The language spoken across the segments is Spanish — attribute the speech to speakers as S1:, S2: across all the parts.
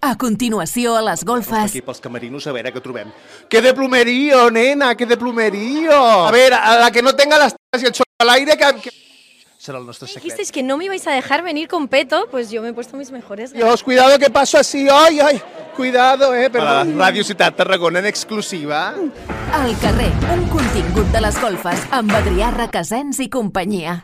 S1: A continuació, a les golfes...
S2: Aquí pels camerinos, a veure què trobem. Que de plumerío, nena, que de plumerío. A ver, a la que no tenga las tetas y el sol al aire, que... que... Serà el nostre secret.
S3: Dijisteis que no me ibais a dejar venir con peto, pues yo me he puesto mis mejores. galas.
S2: Dios, cuidado que paso así, ay, ay. Cuidado, eh, perdón. Para Radio Ciutat Tarragona en exclusiva.
S1: Al carrer, un contingut de les golfes amb Adrià Requesens i companyia.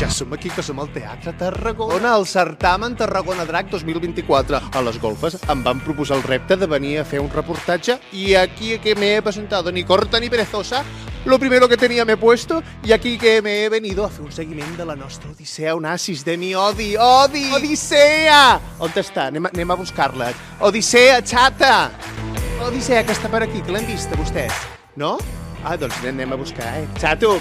S2: Ja som aquí, que som al Teatre Tarragona, al certamen Tarragona Drac 2024. A les golfes em van proposar el repte de venir a fer un reportatge i aquí que me he presentado ni corta ni perezosa, lo primero que tenía me he puesto y aquí que me he venido a fer un seguiment de la nostra odissea, un asis de mi odi, odi, odissea! On està? Anem a, anem a buscar-la. Odissea, xata! Odissea, que està per aquí, que l'hem vista, vostès. No? Ah, doncs anem a buscar, eh? Xato,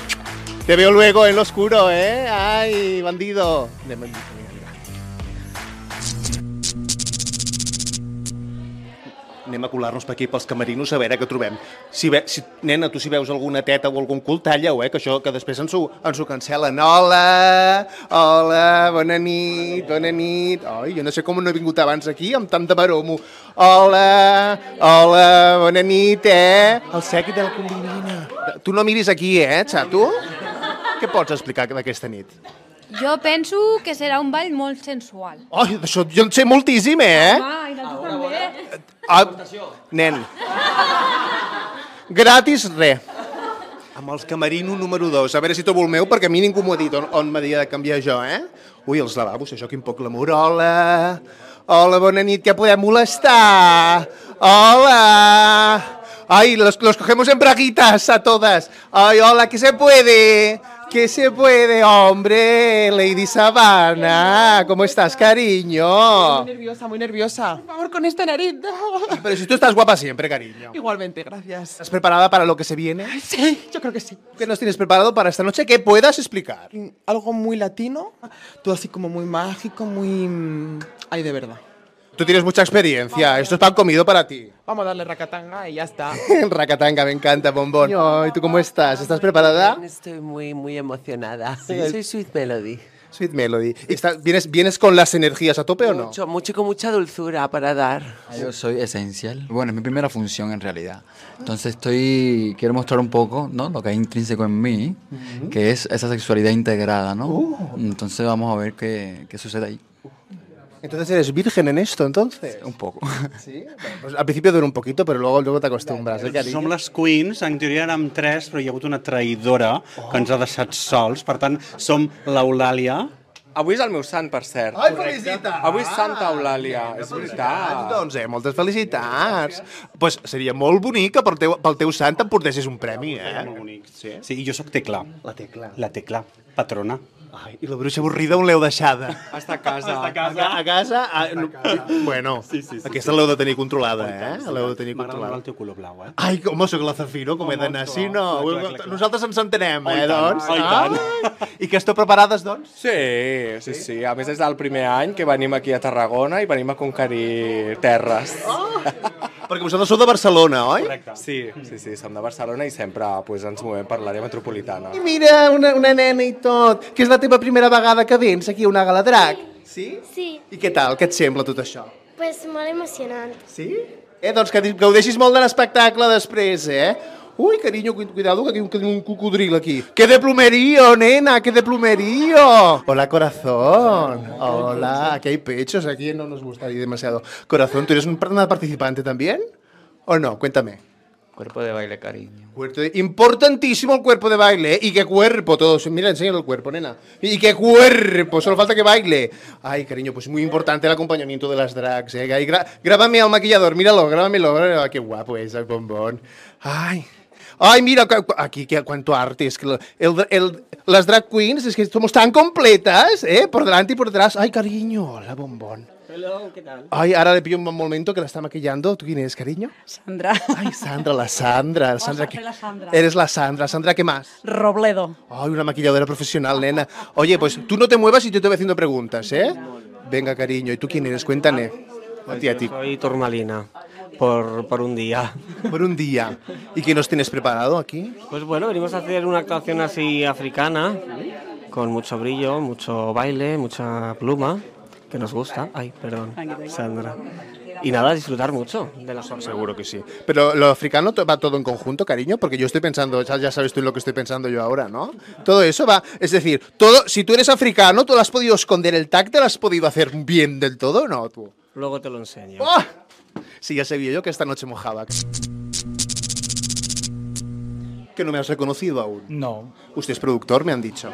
S2: te veo luego en lo oscuro, eh? Ai, bandido. Anem a mira, mira. Anem a colar-nos per aquí pels camerinos a veure què trobem. Si, ve, si nena, tu si veus alguna teta o algun cul, talla-ho, eh? Que això, que després ens ho, ens ho cancel·len. Hola, hola, bona nit, bona nit. Ai, jo no sé com no he vingut abans aquí amb tant de baromo. Hola, hola, bona nit, eh? El sèquit de la combinina. Tu no miris aquí, eh, xato? Què pots explicar d'aquesta nit?
S3: Jo penso que serà un ball molt sensual.
S2: Ai, d'això jo en sé moltíssim, eh?
S3: Ah, i tu també.
S2: Ah, nen. Gratis, re. Amb els camerino número 2. A veure si trobo el meu, perquè a mi ningú m'ho ha dit on, on m'havia de canviar jo, eh? Ui, els lavabos, això, quin poc glamour. Hola. Hola, bona nit, que podem molestar. Hola. Ay, los, los cogemos en braguitas a todas. Ay, hola, ¿qué se puede? ¿Qué se puede, hombre? Lady Sabana, ¿cómo estás, cariño?
S4: Muy nerviosa, muy nerviosa. Por favor, con esta nariz. no.
S2: Pero si tú estás guapa siempre, cariño.
S4: Igualmente, gracias.
S2: ¿Estás preparada para lo que se viene?
S4: Sí, yo creo que sí.
S2: ¿Qué nos tienes preparado para esta noche que puedas explicar?
S4: Mm, Algo muy latino, todo así como muy mágico, muy... mm, Ay, de verdad.
S2: Tú tienes mucha experiencia, esto es pan comido para ti.
S4: Vamos a darle racatanga y ya está.
S2: Racatanga, me encanta, bombón. Ay, ¿tú cómo estás? ¿Estás preparada?
S5: Estoy muy, muy emocionada. Soy Sweet Melody.
S2: Sweet Melody. ¿Estás- vienes, ¿Vienes con las energías a tope o no?
S5: Mucho, mucho, con mucha dulzura para dar.
S6: Ah, Yo soy esencial. Bueno, es mi primera función en realidad.
S7: Ah.
S6: Entonces estoy, quiero mostrar un poco, ¿no? Lo que hay intrínseco en mí, que es esa sexualidad integrada, ¿no?
S7: Uh.
S6: Entonces vamos a ver qué, qué sucede ahí.
S2: Entonces eres virgen en esto, entonces.
S6: Un poco.
S2: Sí. Bueno, pues al principio dura un poquito, pero luego, luego te acostumbras, ¿eh, cariño?
S8: Som les Queens, en teoria érem tres, però hi ha hagut una traïdora que ens ha deixat sols. Per tant, som l'Eulàlia.
S5: Avui és el meu sant, per cert.
S2: Ai, felicitats!
S5: Avui és Santa Eulàlia, és
S2: Ah,
S5: veritat.
S2: doncs, eh, moltes felicitats. Doncs pues seria molt bonic que pel teu, pel teu sant em portessis un premi, eh?
S8: Molt bonic, sí. Sí, i jo sóc Tecla. La Tecla. La Tecla, patrona.
S2: Ai, I la bruixa avorrida on l'heu deixada?
S5: Està a casa.
S8: Està a
S2: A,
S8: casa.
S2: ca- a casa? A, no, bueno, sí, sí, sí, aquesta l'heu de tenir controlada, eh? L'heu de tenir
S8: M'agrada molt
S2: controlada.
S8: el teu color blau, eh?
S2: Ai, com sóc la Zafiro, com he d'anar així, no?
S8: clar, clar, clar.
S2: Nosaltres ens entenem,
S8: Oh, i
S2: eh,
S8: tant,
S2: doncs?
S8: oh, i tant.
S2: Ai, I que esteu preparades, doncs?
S5: Sí, sí, sí. A més, és el primer any que venim aquí a Tarragona i venim a conquerir terres.
S2: Perquè vosaltres sou de Barcelona, oi?
S5: Sí, sí, sí, som de Barcelona i sempre pues, ens movem per l'àrea metropolitana.
S2: I mira, una, una nena i tot, que és la teva primera vegada que vens aquí a una gala drac. Sí?
S9: Sí,
S2: I què tal? Què et sembla tot això?
S9: pues molt emocionant.
S2: Sí? Eh, doncs que gaudeixis molt de l'espectacle després, eh? Ui, carinyo, cu- cuidado, que tinc un cocodril aquí. Que de plumerío, nena, que de plumerío. Hola, corazón. Hola, aquí hay pechos, aquí no nos gusta ir demasiado. Corazón, ¿tú eres un- una participante también? ¿O no? Cuéntame.
S6: Cuerpo de baile, cariño.
S2: Cuerpo de- Importantísimo el cuerpo de baile, ¿eh? Y qué cuerpo, todos. Mira, enseñan el cuerpo, nena. Y qué cuerpo, solo falta que baile. Ay, cariño, pues muy importante el acompañamiento de las drags, ¿eh? Ahí gra- grábame al maquillador, míralo, grábamelo. grábamelo. Ah, qué guapo es el bombón. Ay. Ay, mira, cu- cu- aquí qué- cuánto arte. Es que lo- el- el- las drag queens, es que somos tan completas, ¿eh? Por delante y por detrás. Ay, cariño, hola, bombón. Ay, ahora le pillo un momento que la está maquillando. ¿Tú quién eres, cariño?
S10: Sandra.
S2: Ay, Sandra, la Sandra. la Sandra,
S10: soy la Sandra.
S2: Eres la Sandra. Sandra, ¿qué más?
S10: Robledo.
S2: Ay, una maquilladora profesional, nena. Oye, pues tú no te muevas y yo te voy haciendo preguntas, ¿eh? Venga, cariño, ¿y tú quién eres? Cuéntame. A ti, a ti.
S10: Soy Turmalina, por, por un día.
S2: Por un día. ¿Y qué nos tienes preparado aquí?
S10: Pues bueno, venimos a hacer una actuación así africana, con mucho brillo, mucho baile, mucha pluma, que nos gusta. Ay, perdón, Sandra. Y nada, disfrutar mucho de la zona.
S2: Seguro que sí. Pero lo africano to- va todo en conjunto, cariño, porque yo estoy pensando, ya ya sabes tú lo que estoy pensando yo ahora, ¿no? Todo eso va, es decir, todo, si tú eres africano, tú lo has podido esconder el tag, te lo has podido hacer bien del todo, ¿no? Tú.
S10: Luego te lo enseño.
S2: ¡Ah! Sí, ya sabía yo que esta noche mojaba. Que no me has reconocido aún.
S11: No,
S2: Usted es productor, me han dicho.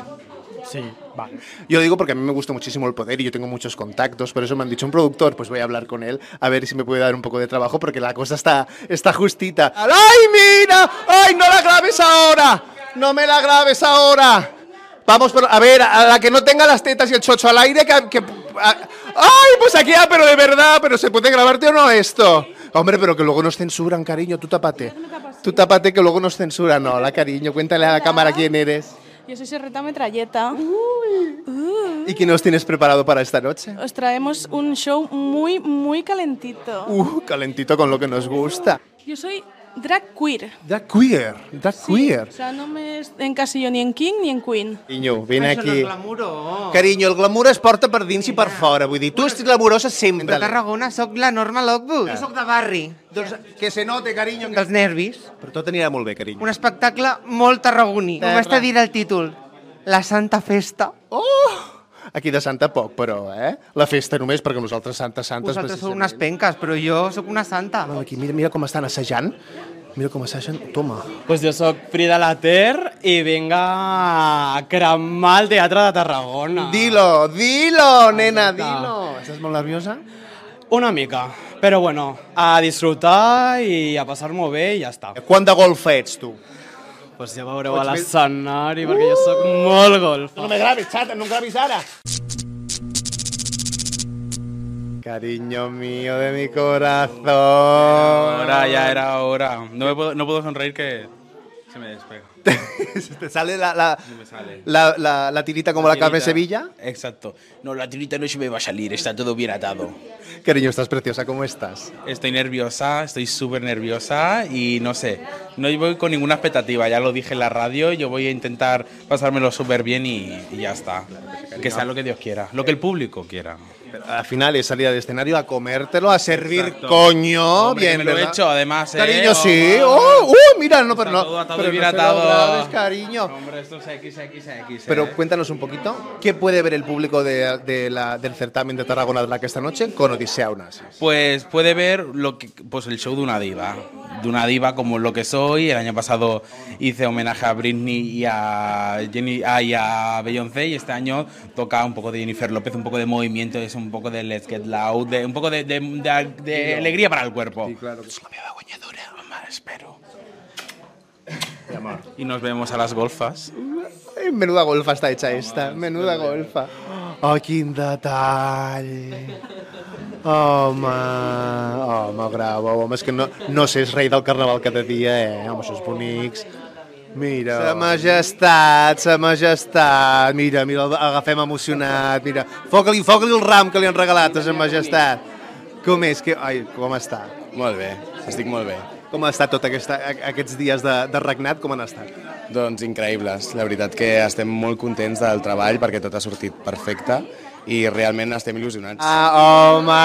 S11: sí, vale.
S2: Yo lo digo porque a mí me gusta muchísimo el poder y yo tengo muchos contactos, por eso me han dicho un productor, pues voy a hablar con él a ver si me puede dar un poco de trabajo porque la cosa está, está justita. ¡Ay, mira! ¡Ay, no la grabes ahora! ¡No me la grabes ahora! Vamos, por, a ver, a la que no tenga las tetas y el chocho al aire, que... que- a- ¡Ay, pues aquí, ah, pero de verdad! ¿Pero se puede grabarte o no esto? Hombre, pero que luego nos censuran, cariño, tú tápate. Tú tápate que luego nos censuran. No, la cariño, cuéntale a la cámara quién eres.
S12: Yo soy Serreta Metralleta.
S2: ¿Y qué nos tienes preparado para esta noche?
S12: Os traemos un show muy, muy calentito.
S2: Uh, calentito con lo que nos gusta.
S12: Yo soy drag queer.
S2: Da queer, da queer.
S12: O sea, no me encasillo ni en king ni en queen.
S2: Cariño, ven aquí. Cariño, el glamour es porta per dins i per fora. Vull dir, tu ets glamurosa sempre.
S13: De Tarragona sóc la Norma Lockwood. Jo sóc de barri.
S2: Doncs que se note, carinyo.
S13: Dels nervis.
S2: Però tot anirà molt bé, carinyo.
S13: Un espectacle molt tarragoní. Com
S2: Terra.
S13: està dir el títol? La Santa Festa.
S2: Oh! Aquí de Santa poc, però, eh? La festa només, perquè nosaltres Santa Santes...
S13: Vosaltres sou
S2: precisament-
S13: unes penques, però jo sóc una santa.
S2: Bueno, Aquí, mira, mira com estan assajant. Mira com assajant. Toma.
S14: Pues jo sóc Frida Later i vinga a cremar el Teatre de Tarragona.
S2: Dilo, dilo, nena, dilo. Estàs molt nerviosa?
S14: Una mica, però bueno, a disfrutar i a passar-m'ho bé i ja està.
S2: Quant de golfa ets, tu?
S14: Pues ja veureu a
S2: Pots més-
S14: l'escenari, perquè jo sóc molt golfa.
S2: No me graves, chata, no graves ara. Cariño mío de mi corazón.
S15: Ah,
S16: Ahora ya era hora. No, me puedo, no puedo sonreír que se me despega.
S2: ¿Te sale la, la,
S16: No me sale.
S2: la, la- la tirita como la, carne de Sevilla?
S16: Exacto. No, la tirita no se me va a salir, está todo bien atado.
S2: Cariño, estás preciosa, ¿cómo estás?
S16: Estoy nerviosa, estoy súper nerviosa y no sé, no voy con ninguna expectativa, ya lo dije en la radio, yo voy a intentar pasármelo súper bien y, y ya está. Que sea lo que Dios quiera, lo que el público quiera.
S2: Al final es salir al escenario a comértelo, a servir
S16: Exacto.
S2: coño.
S16: Hombre,
S2: bien,
S16: que me lo he
S2: ¿verdad?
S16: hecho, además, ¿eh?
S2: Cariño, sí.
S16: Oh,
S2: Oh, uh, mira, no, pero no.
S16: todo atado
S2: pero
S16: y bien
S2: no se lo
S16: atado.
S2: grabes, cariño.
S16: Hombre, esto es XXX.
S2: Pero cuéntanos un poquito, ¿qué puede ver el público de, de la- del certamen de Tarragona Drag esta noche con Odisea Onassis?
S16: Pues puede ver lo que, pues el show de una diva, de una diva como lo que soy. El año pasado hice homenaje a Britney y a Jenny, ah, y a Beyoncé y este año toca un poco de Jennifer López, un poco de movimiento, es un poco de Let's Get Loud, de- un poco de, de- de- de alegría para el cuerpo. espero. Y nos vemos a las golfas.
S2: Ay, menuda golfa está hecha esta, menuda golfa. Oh, quin detall. Home, home, bravo, home, és que no, no sé, és rei del carnaval cada dia, eh? Home, això és bonics. Mira. Sa majestat, sa majestat. Mira, mira, el agafem emocionat, mira. Foca-li, foca-li el ram que li han regalat, a sa majestat. Com és que... Ai, com està?
S15: Molt bé, estic molt bé.
S2: Com ha estat tot aquesta, a- aquests dies de, de regnat? Com han estat?
S15: Doncs increïbles. La veritat que estem molt contents del treball perquè tot ha sortit perfecte i realment estem il·lusionats.
S2: Ah, home,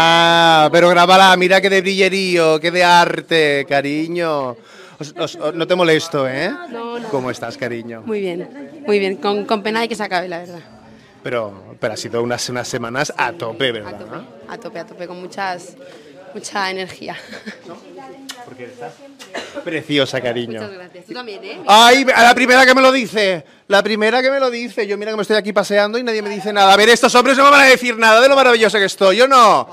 S2: pero grábala, mira que de brillerío, que de arte, cariño. Os- os- os- no te molesto, ¿eh?
S17: No, no.
S2: ¿Cómo estás, cariño?
S17: Muy bien, muy bien. Con, con pena de que se acabe, la verdad.
S2: Pero, pero ha sido unas, unas semanas a tope, ¿verdad?
S17: A tope, a tope, con muchas, mucha energía.
S2: Preciosa, cariño.
S17: Muchas gracias. Tú también, ¿eh?
S2: Ay, a la primera que me lo dice, la primera que me lo dice. Yo mira que me estoy aquí paseando y nadie me dice nada. A ver, estos hombres no me van a decir nada de lo maravillosa que estoy, ¿yo no?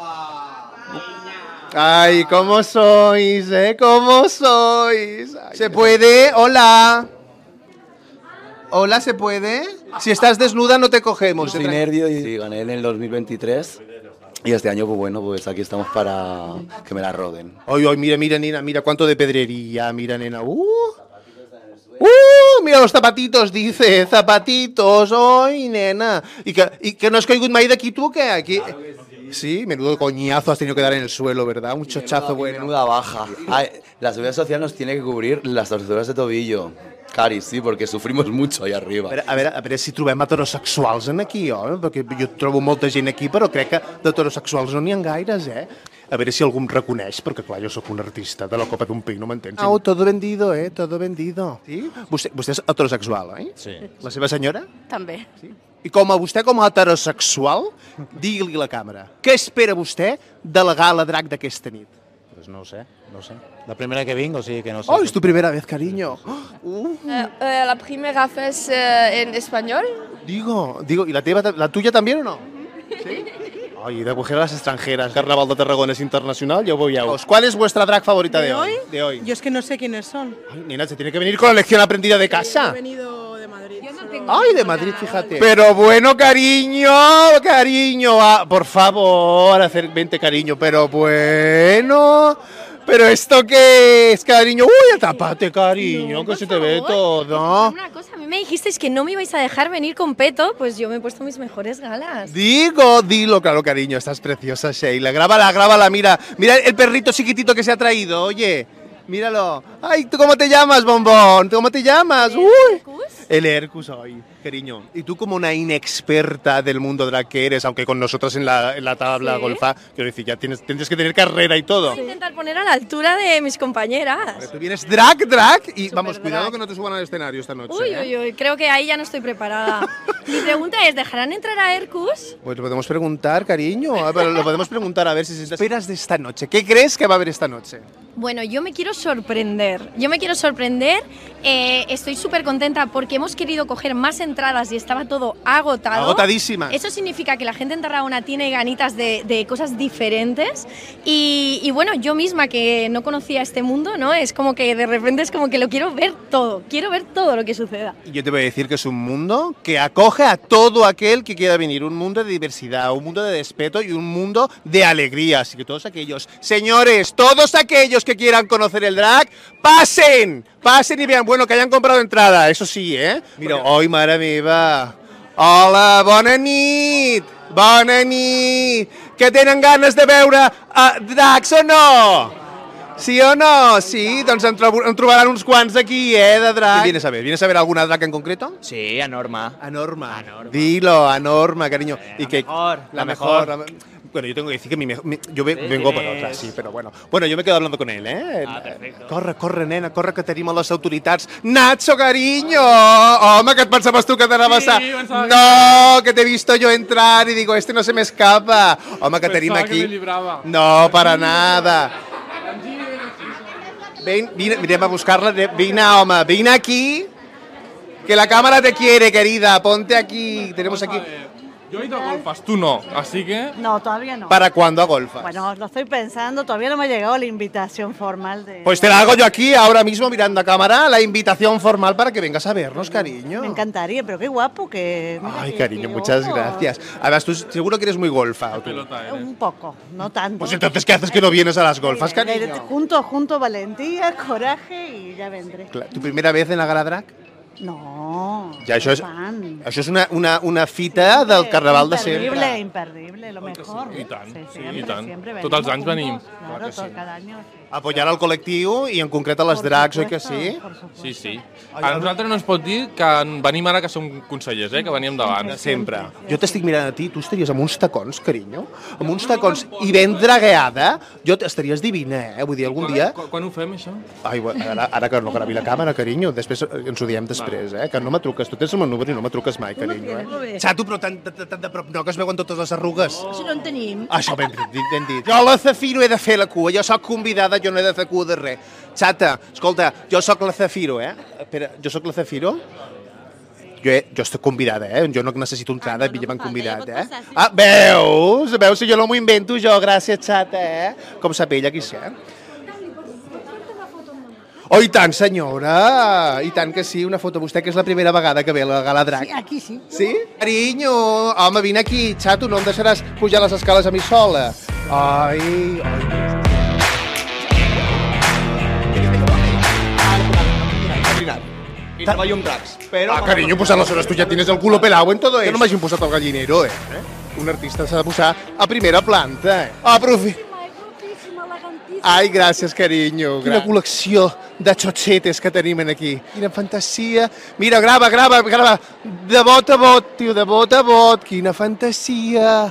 S2: Ay, cómo sois, ¿eh? ¿Cómo sois? Ay, ¿Se puede? Hola. Hola, ¿se puede? Si estás desnuda no te cogemos.
S7: Soy nervio y sí, gané en el 2023. Y este año, pues bueno, pues aquí estamos para que me la roden.
S2: Ay, ay, mira, mira, nena, mira cuánto de pedrería, mira, nena. ¡Uh! ¡Uh! Mira los zapatitos, dice, zapatitos, ¡ay, nena! I que, i que no has caigut mai d'aquí tu, o què? Aquí, Sí, menudo coñazo has tenido que dar en el suelo, ¿verdad? Un chochazo bueno.
S7: Menuda baja. Ay, Ah, la seguridad social nos tiene que cubrir las torceduras de tobillo. Cari, sí, porque sufrimos mucho ahí arriba.
S2: A veure, a veure, a veure si trobem heterosexuals en aquí, home, perquè jo trobo molta gent aquí, però crec que d'heterosexuals no n'hi ha gaires, eh? A veure si algú em reconeix, perquè clar, jo sóc un artista de la copa d'un pic, no m'entens? Au, todo vendido, eh? Todo vendido. Sí? Vostè, vostè és heterosexual, oi? Sí. La seva senyora?
S17: També. Sí.
S2: I com a vostè, com a heterosexual, digui-li a la càmera, què espera vostè de la gala drac d'aquesta nit?
S11: Pues no sé, no sé. La primera que vengo, sí, que no sé.
S2: Oh, és tu primera vez, cariño. Oh,
S18: Eh, eh, la primera vez eh, en español.
S2: Digo, digo, ¿y la, teva, la tuya también o no? ¿Sí? Ay, de mujeres extranjeras, Carnaval de Tarragona es internacional, yo voy a... ¿Cuál es vuestra drag favorita de,
S12: Pues, ¿De hoy?
S2: De hoy.
S12: Yo es que no sé quiénes son.
S2: Ay, nena, se tiene que venir con la lección aprendida de casa.
S12: venido de Madrid.
S2: Ay, de Madrid, fíjate. Pero bueno, cariño, cariño, ah, por favor, hacer 20 cariño, pero bueno. Pero esto qué es, cariño. Uy, tapate, cariño, que se Pues te ve todo.
S3: Una cosa, a mí me dijisteis que no me ibais a dejar venir con peto, pues yo me he puesto mis mejores galas.
S2: Digo, dilo, claro, cariño, estás preciosa, Sheila. Grábala, grábala, mira. Mira el perrito chiquitito que se ha traído, oye. Míralo. Ay, ¿tú cómo te llamas, bombón? ¿Tú cómo te llamas? Uy. El Hercus hoy, cariño. Y tú como una inexperta del mundo drag que eres, aunque con nosotras en la, en la tabla
S3: Sí.
S2: golfa, quiero decir, ya tienes, tendrías que tener carrera y todo.
S3: Voy a intentar poner a la altura de mis compañeras.
S2: Tú vienes drag, drag, y vamos, cuidado que no te suban al escenario esta noche.
S3: Uy,
S2: ¿eh?
S3: uy, uy, creo que ahí ya no estoy preparada. Mi pregunta es, ¿dejarán entrar a Hercus?
S2: Pues lo podemos preguntar, cariño. Ah, pero Lo podemos preguntar a ver si se esperas de esta noche. ¿Qué crees que va a haber esta noche?
S3: Bueno, yo me quiero sorprender. Yo me quiero sorprender. eh, estoy súper contenta porque hemos querido coger más entradas y estaba todo agotado.
S2: Agotadísima.
S3: Eso significa que la gente en Tarragona tiene ganitas de, de cosas diferentes. Y, y bueno, yo misma que no conocía este mundo, ¿no? Es como que de repente es como que lo quiero ver todo. Quiero ver todo lo que suceda.
S2: Y Yo te voy a decir que es un mundo que acoge a todo aquel que quiera venir, un mundo de diversidad, un mundo de respeto y un mundo de alegría. Así que todos aquellos, señores, todos aquellos que quieran conocer el drag, pasen, pasen y vean, bueno, que hayan comprado entrada, eso sí, ¿eh? Mira, hoy mare meva! Hola, bona nit, bona nit, que tenen ganes de veure a drags o no? Sí o no? Sí, doncs en, trobo, en trobaran uns quants aquí, eh, de drag. Què vienes a ver? ¿Vienes a ver alguna drag en concreto?
S11: Sí, a Norma. Eh,
S2: A Norma. Dilo, a Norma, cariño. y que mejor,
S11: la mejor.
S2: Bueno, yo tengo que decir que mi mejor, mi- yo ve-
S11: Sí,
S2: vengo por
S11: tienes-
S2: otra, sí, pero bueno. Bueno, yo me quedo hablando con él, ¿eh?
S11: Ah, perfecto.
S2: Corre, corre, nena, corre, que tenim a les autoritats. Nacho, cariño! Home, que et pensaves tu que t'anaves
S11: Sí,
S2: a...
S11: pensava que-
S2: No, que te he visto yo entrar y digo, este no se me escapa. Home, que tenim
S11: Pensava que me
S2: aquí...
S11: librava.
S2: No, para nada. Ven, vine, mirem a buscar-la. de- Vine, home, vine aquí. Que la cámara te quiere, querida. Ponte aquí. Tenemos aquí...
S11: Yo he ido a golfas, tú no, así que...
S19: No, todavía no.
S2: ¿Para cuándo a golfa?
S19: Bueno, lo estoy pensando, todavía no me ha llegado la invitación formal de...
S2: Pues te la hago yo aquí, ahora mismo, mirando a cámara, la invitación formal para que vengas a vernos, cariño.
S19: Me encantaría, pero qué guapo que... mira
S2: Ay,
S19: que-
S2: cariño,
S19: que
S2: muchas
S19: guapo.
S2: gracias. Además, tú seguro que eres muy golfa. ¿o tú?
S19: Un poco, no tanto.
S2: Pues entonces, ¿qué haces que no vienes a las golfas,
S19: Eh,
S2: cariño?
S19: Junto, junto, valentía, coraje y ya vendré.
S2: Clar, ¿Tu primera vez en la gala drag?
S19: No.
S2: Ja, això és-
S19: fan.
S2: Això és una, una, una fita del carnaval de sempre.
S19: Imperdible, imperdible, lo mejor.
S11: I tant,
S19: Sí,
S11: sí,
S19: siempre,
S11: i tant.
S19: siempre
S11: Tots
S19: venimos
S11: els anys
S19: juntos.
S11: venim.
S19: Claro,
S11: Clar que
S19: tot-
S11: sí.
S19: cada año.
S2: Apoyar al col·lectiu i en concret a les drags, oi que sí?
S11: Sí, sí. A nosaltres no ens pot dir que en- venim ara que som consellers, eh? que veníem davant.
S2: Sempre. Jo t'estic mirant a ti, tu estaries amb uns tacons, carinyo, amb uns tacons i ben dragueada, jo t- estaries divina, eh? Vull dir, algun dia...
S11: Quan, quan ho fem, això?
S2: Ai, bueno, ara, ara que no gravi la càmera, carinyo, després eh, ens ho diem després, eh? Que no me truques, tu tens el meu número i no me truques mai, carinyo, eh? Xato, però tant de, tant de prop no, que es veuen totes les
S11: Oh,
S2: arrugues.
S20: Això no en tenim.
S2: Això ben dit, ben dit. Jo a la Zafiro he de fer la cua, jo sóc convidada, jo no he de fer cua de res. Xata, escolta, jo sóc la Zafiro, eh? Espera, jo sóc la Zafiro? Jo, he, jo estic convidada, eh? Jo no necessito entrada, ah, no, ja m'han convidat, eh? Ah, veus? Veus si jo no m'ho invento jo, gràcies, Xata, eh? Com sap ella qui ser. Oh, i tant, senyora! I tant que sí, una foto. Vostè que és la primera vegada que ve a la Gala Drac.
S19: Sí, aquí sí.
S2: Sí? Carinyo, home, vine aquí, xato, no em deixaràs pujar les escales a mi sola. Ai, ai.
S11: I treballo amb dracs.
S2: Però... Ah, carinyo, pues aleshores tu ja tienes el culo pelado en todo eso. Jo no m'hagin posat el gallinero, eh? un artista s'ha de posar a primera planta. Eh? Aprofi... Ai, gràcies, carinyo. Quina
S20: Gra-
S2: col·lecció de xochetes que tenim en aquí. Quina fantasia. Mira, grava, grava, grava. De bot a bot, tio, de bot a bot. Quina fantasia.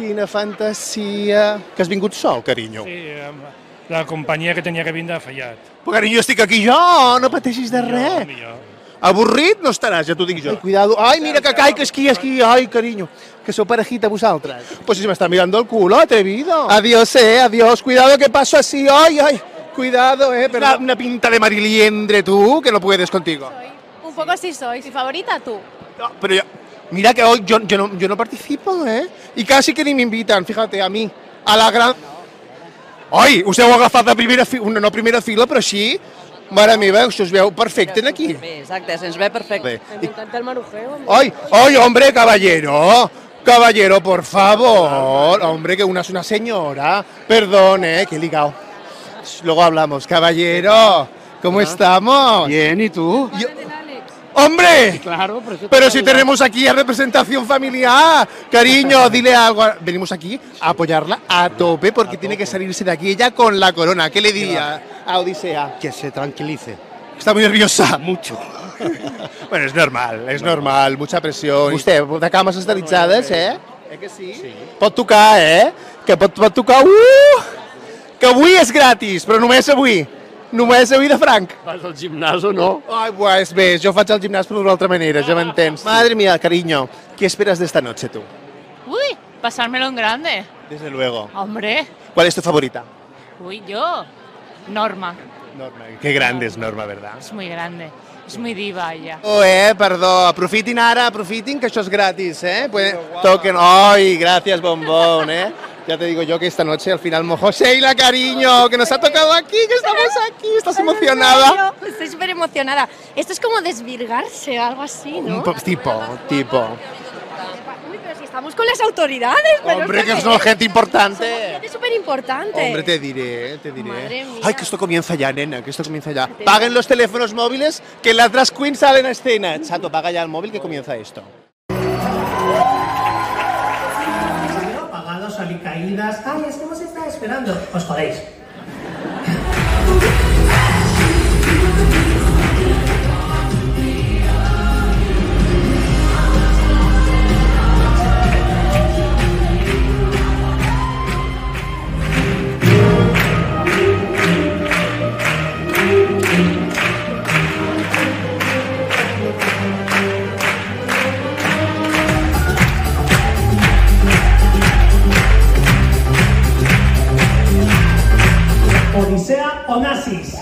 S2: Quina fantasia. Que has vingut sol, carinyo.
S21: Sí, amb la companyia que tenia que vindre ha fallat.
S2: Però, carinyo, estic aquí jo, no pateixis de res. Avorrit no estaràs, ja t'ho dic jo. Ai, cuidado. Ai, mira que cai, que esquí, esquí. Ai, carinyo, que sou parejita vosaltres. Pues si m'està mirando el culo, atrevido. Adiós, eh, adiós. Cuidado que paso así. Ai, ai. Cuidado, eh. Pero... Una, una pinta de mariliendre, tú, que no puedes contigo.
S22: Un poco así soy. Mi favorita, tú.
S2: Pero yo- mira que hoy yo, yo no, yo no participo, ¿eh? Y casi que ni me invitan, fíjate, a mí, a la gran... Ai, us heu agafat de primera fila, una no primera fila, però així, mare meva, us us veu perfecte en aquí.
S23: Bé, exacte, se'ns ve perfecte.
S2: I-
S23: M'encanta Em el marujeo.
S2: ¡Ay! ¡Ay, hombre, caballero! Caballero, por favor. Hombre, que una es una señora. Perdón, eh, que he ligado. Sh, Luego hablamos. Caballero, ¿cómo estamos? Bien, ¿y tú? ¡Hombre!
S24: Claro, por eso te
S2: Pero si
S24: saludo.
S2: tenemos aquí a representación familiar, cariño, dile algo. a- Venimos aquí a apoyarla a tope porque tiene que salirse de aquí ella con la corona. ¿Qué le diría a Odisea? Que se tranquilice. Está muy nerviosa. Mucho. bueno, es normal, es normal, mucha presión. Vostè, de cames esterilitzades, eh? Eh que sí? sí? Pot tocar, eh? Que pot, pot tocar... Uh! Que avui és gratis, però només avui. Només avui de franc.
S24: Vas al gimnàs o no?
S2: Ai, buah, és bé, jo faig el gimnàs però d'una altra manera, ja m'entens. Madre mía, cariño, ¿qué esperas de esta noche tú?
S25: Uy, pasármelo en grande.
S2: Desde luego.
S25: Hombre.
S2: ¿Cuál es tu favorita?
S25: Uy, yo. Norma.
S2: Qué grande es Norma, ¿verdad?
S25: Es muy grande. Es muy diva ella.
S2: Oh, eh, perdó, aprofitin ara, aprofitin, que això és gratis, eh? Pues, toquen, ¡ay, gracias, bombón, eh! Ya te digo yo que esta noche al final mojó Sheila, cariño, que nos ha tocado aquí, que estamos aquí, estás emocionada.
S3: Yo Estoy súper emocionada. Esto es como desvirgarse, algo así, ¿no?
S2: Un po- tipo, tipo.
S3: Uy, pero si estamos con las autoridades, pero
S2: Hombre,
S3: esto
S2: que es
S3: qué
S2: una gente importante.
S3: Somos gente súper importante.
S2: Hombre, te diré, te diré.
S3: Madre mía.
S2: Ay, que esto comienza ya, nena, que esto comienza ya. Paguen los teléfonos móviles, que las drag queens salen a escena. Chato, paga ya el móvil que comienza esto.
S26: apagados, alicaídas. Ay, es que hemos estado esperando. Os jodéis. Odisea Onassis.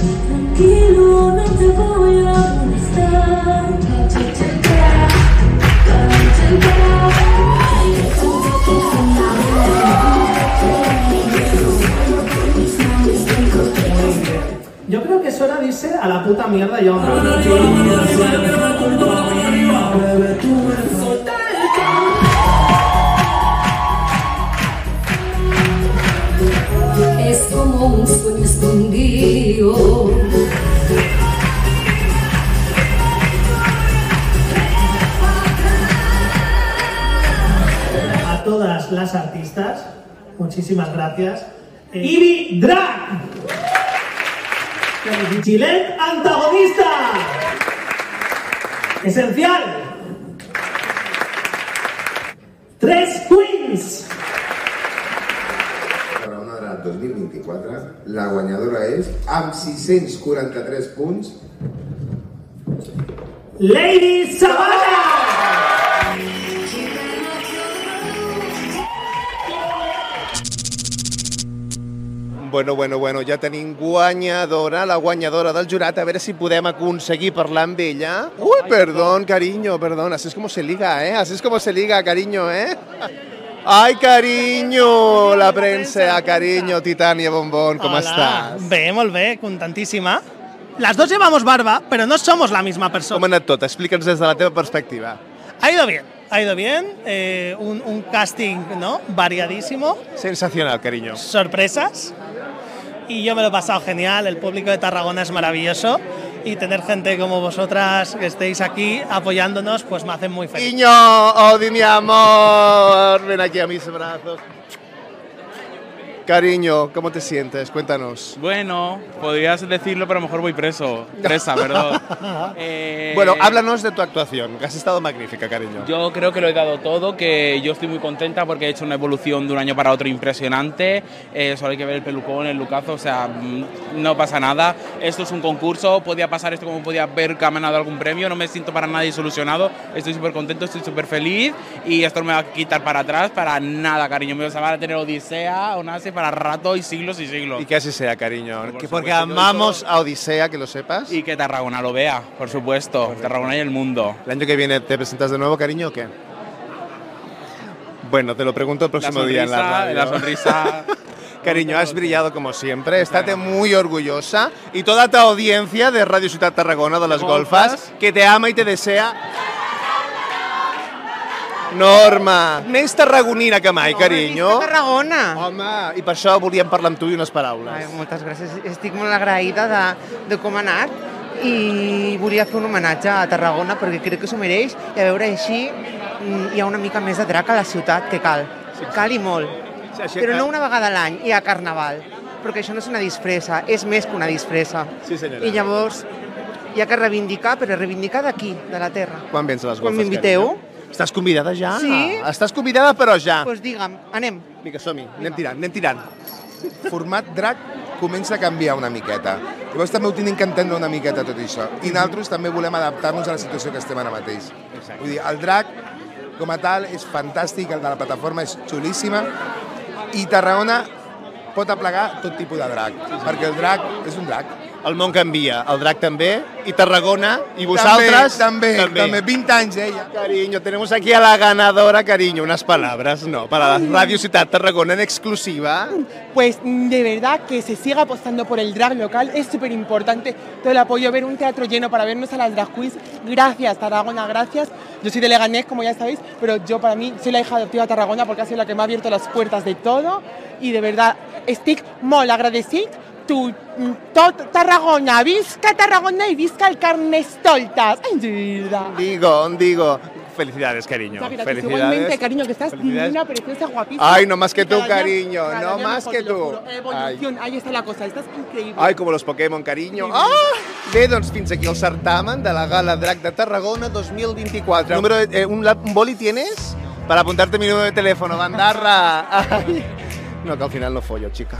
S27: Tranquilo, no te voy a molestar.
S26: Yo creo que suena dice a la puta mierda yo.
S27: Es como un sueño escondido.
S26: A todas las artistas, muchísimas gracias. Eh, Ibi Drag. Chilet antagonista. Esencial. tres queens.
S1: Tarragona Drac 2024, la guanyadora és, amb 643 punts,
S26: Lady Sabana.
S2: Bueno, bueno, bueno, ja tenim guanyadora, la guanyadora del jurat, a veure si podem aconseguir parlar amb ella. Ui, perdón, cariño, perdón, así es como se liga, eh? Así es como se liga, cariño, eh? Ai, cariño, la premsa, cariño, Titania Bombón, com estàs?
S4: Bé, molt bé, contentíssima. Las dos llevamos barba, pero no somos la misma persona.
S2: Com ha anat tot? Explica'ns des de la teva perspectiva.
S4: Ha ido bien, ha ido bien. eh, un, un casting ¿no? variadísimo,
S2: Sensacional, cariño.
S4: sorpresas. Y yo me lo he pasado genial. El público de Tarragona es maravilloso. Y tener gente como vosotras que estéis aquí apoyándonos, pues me hace muy feliz.
S2: Niño, Odi, mi amor, ven aquí a mis brazos. Cariño, ¿cómo te sientes? Cuéntanos.
S16: Bueno, podrías decirlo, pero a lo mejor voy preso. Presa, perdón. Eh,
S2: Bueno, háblanos de tu actuación, que has estado magnífica, cariño.
S16: Yo creo que lo he dado todo, que yo estoy muy contenta porque he hecho una evolución de un año para otro impresionante. Eh, solo hay que ver el pelucón, el lucazo, o sea, mm, no pasa nada. Esto es un concurso, podía pasar esto como podía haber ganado algún premio, no me siento para nada disolucionado. Estoy súper contento, estoy súper feliz y esto no me va a quitar para atrás, para nada, cariño mío. O sea, van a tener Odisea, Onase para rato y siglos y siglos.
S2: Y que así sea, cariño. que porque
S16: supuesto, yo
S2: amamos a Odisea, que lo sepas.
S16: Y que Tarragona lo vea, por supuesto. Tarragona y el mundo.
S2: ¿El año que viene te presentas de nuevo, cariño, o qué? Bueno, te lo pregunto el próximo día en la
S16: sonrisa,
S2: radio.
S16: la sonrisa.
S2: Cariño, has brillado como siempre, estate muy orgullosa y toda tu audiencia de Radio Ciudad Tarragona de las Golfas, que te ama y te desea. Norma, més tarragonina que mai, carinyo.
S13: Tarragona.
S2: Home, i per això volíem parlar amb tu i unes paraules.
S13: Ai, moltes gràcies. Estic molt agraïda de, de com ha anat i volia fer un homenatge a Tarragona perquè crec que s'ho mereix i a veure així mm, hi ha una mica més de drac a la ciutat que cal. Cal i molt.
S2: Sí, així-
S13: Però no una vegada a l'any i a Carnaval, perquè això no és una disfressa, és més que una disfressa.
S2: Sí, senyora.
S13: I llavors hi ha que reivindicar, però reivindicar d'aquí, de la terra.
S2: Quan vens a les golfes,
S13: Quan m'inviteu?
S2: carinyo? Estàs convidada ja?
S13: Sí.
S2: Estàs convidada, però ja.
S13: Doncs pues digue'm, anem.
S2: Vinga, som-hi, anem tirant, anem tirant.
S5: format drac comença a canviar una miqueta. Llavors també ho tenim que entendre una miqueta tot això. I nosaltres també volem adaptar-nos a la situació que estem ara mateix.
S2: Exacte.
S5: Vull dir, el drac com a tal és fantàstic, el de la plataforma és xulíssima i Tarragona pot aplegar tot tipus de drac, perquè el drac és un drac.
S2: El món canvia, el drac també, i Tarragona, i vosaltres
S5: També, també, també. 20 anys eh, ella.
S2: Cariño, tenemos aquí a la ganadora, cariño, unas palabras, ¿no? Para la Radio Ciudad Tarragona en exclusiva.
S4: Pues mm, de verdad que se siga apostando por el drag local es súper importante. Todo el apoyo, ver un teatro lleno para vernos a las drag queens. Gracias, Tarragona, gracias. Yo soy de Leganés, como ya sabéis, pero yo para mí soy la hija adoptiva de Tarragona porque ha sido la que me ha abierto las puertas de todo. Y de verdad, estic molt agradecit tu mm, tot Tarragona, visca Tarragona y visca el Carnestoltas. Ay, de verdad.
S2: Digo, digo. Felicidades, cariño.
S4: Gracias, Igualmente,
S2: Felicidades.
S4: cariño, que estás
S2: Felicidades.
S4: divina, preciosa, guapísima.
S2: Ay, no más que
S4: Y
S2: tú,
S4: cada día-
S2: cariño,
S4: cada
S2: no
S4: día
S2: más
S4: mejor,
S2: que
S4: te lo
S2: tú.
S4: juro. Evolución, ahí está la cosa, estás increíble.
S2: Ai, com los Pokémon, cariño. Ah! Bé, doncs fins aquí el certamen de la Gala Drac de Tarragona 2024. Número, de- eh, un, lap- un boli tienes? Para apuntarte mi número de teléfono, bandarra. Ay. No, que al final no follo, chica.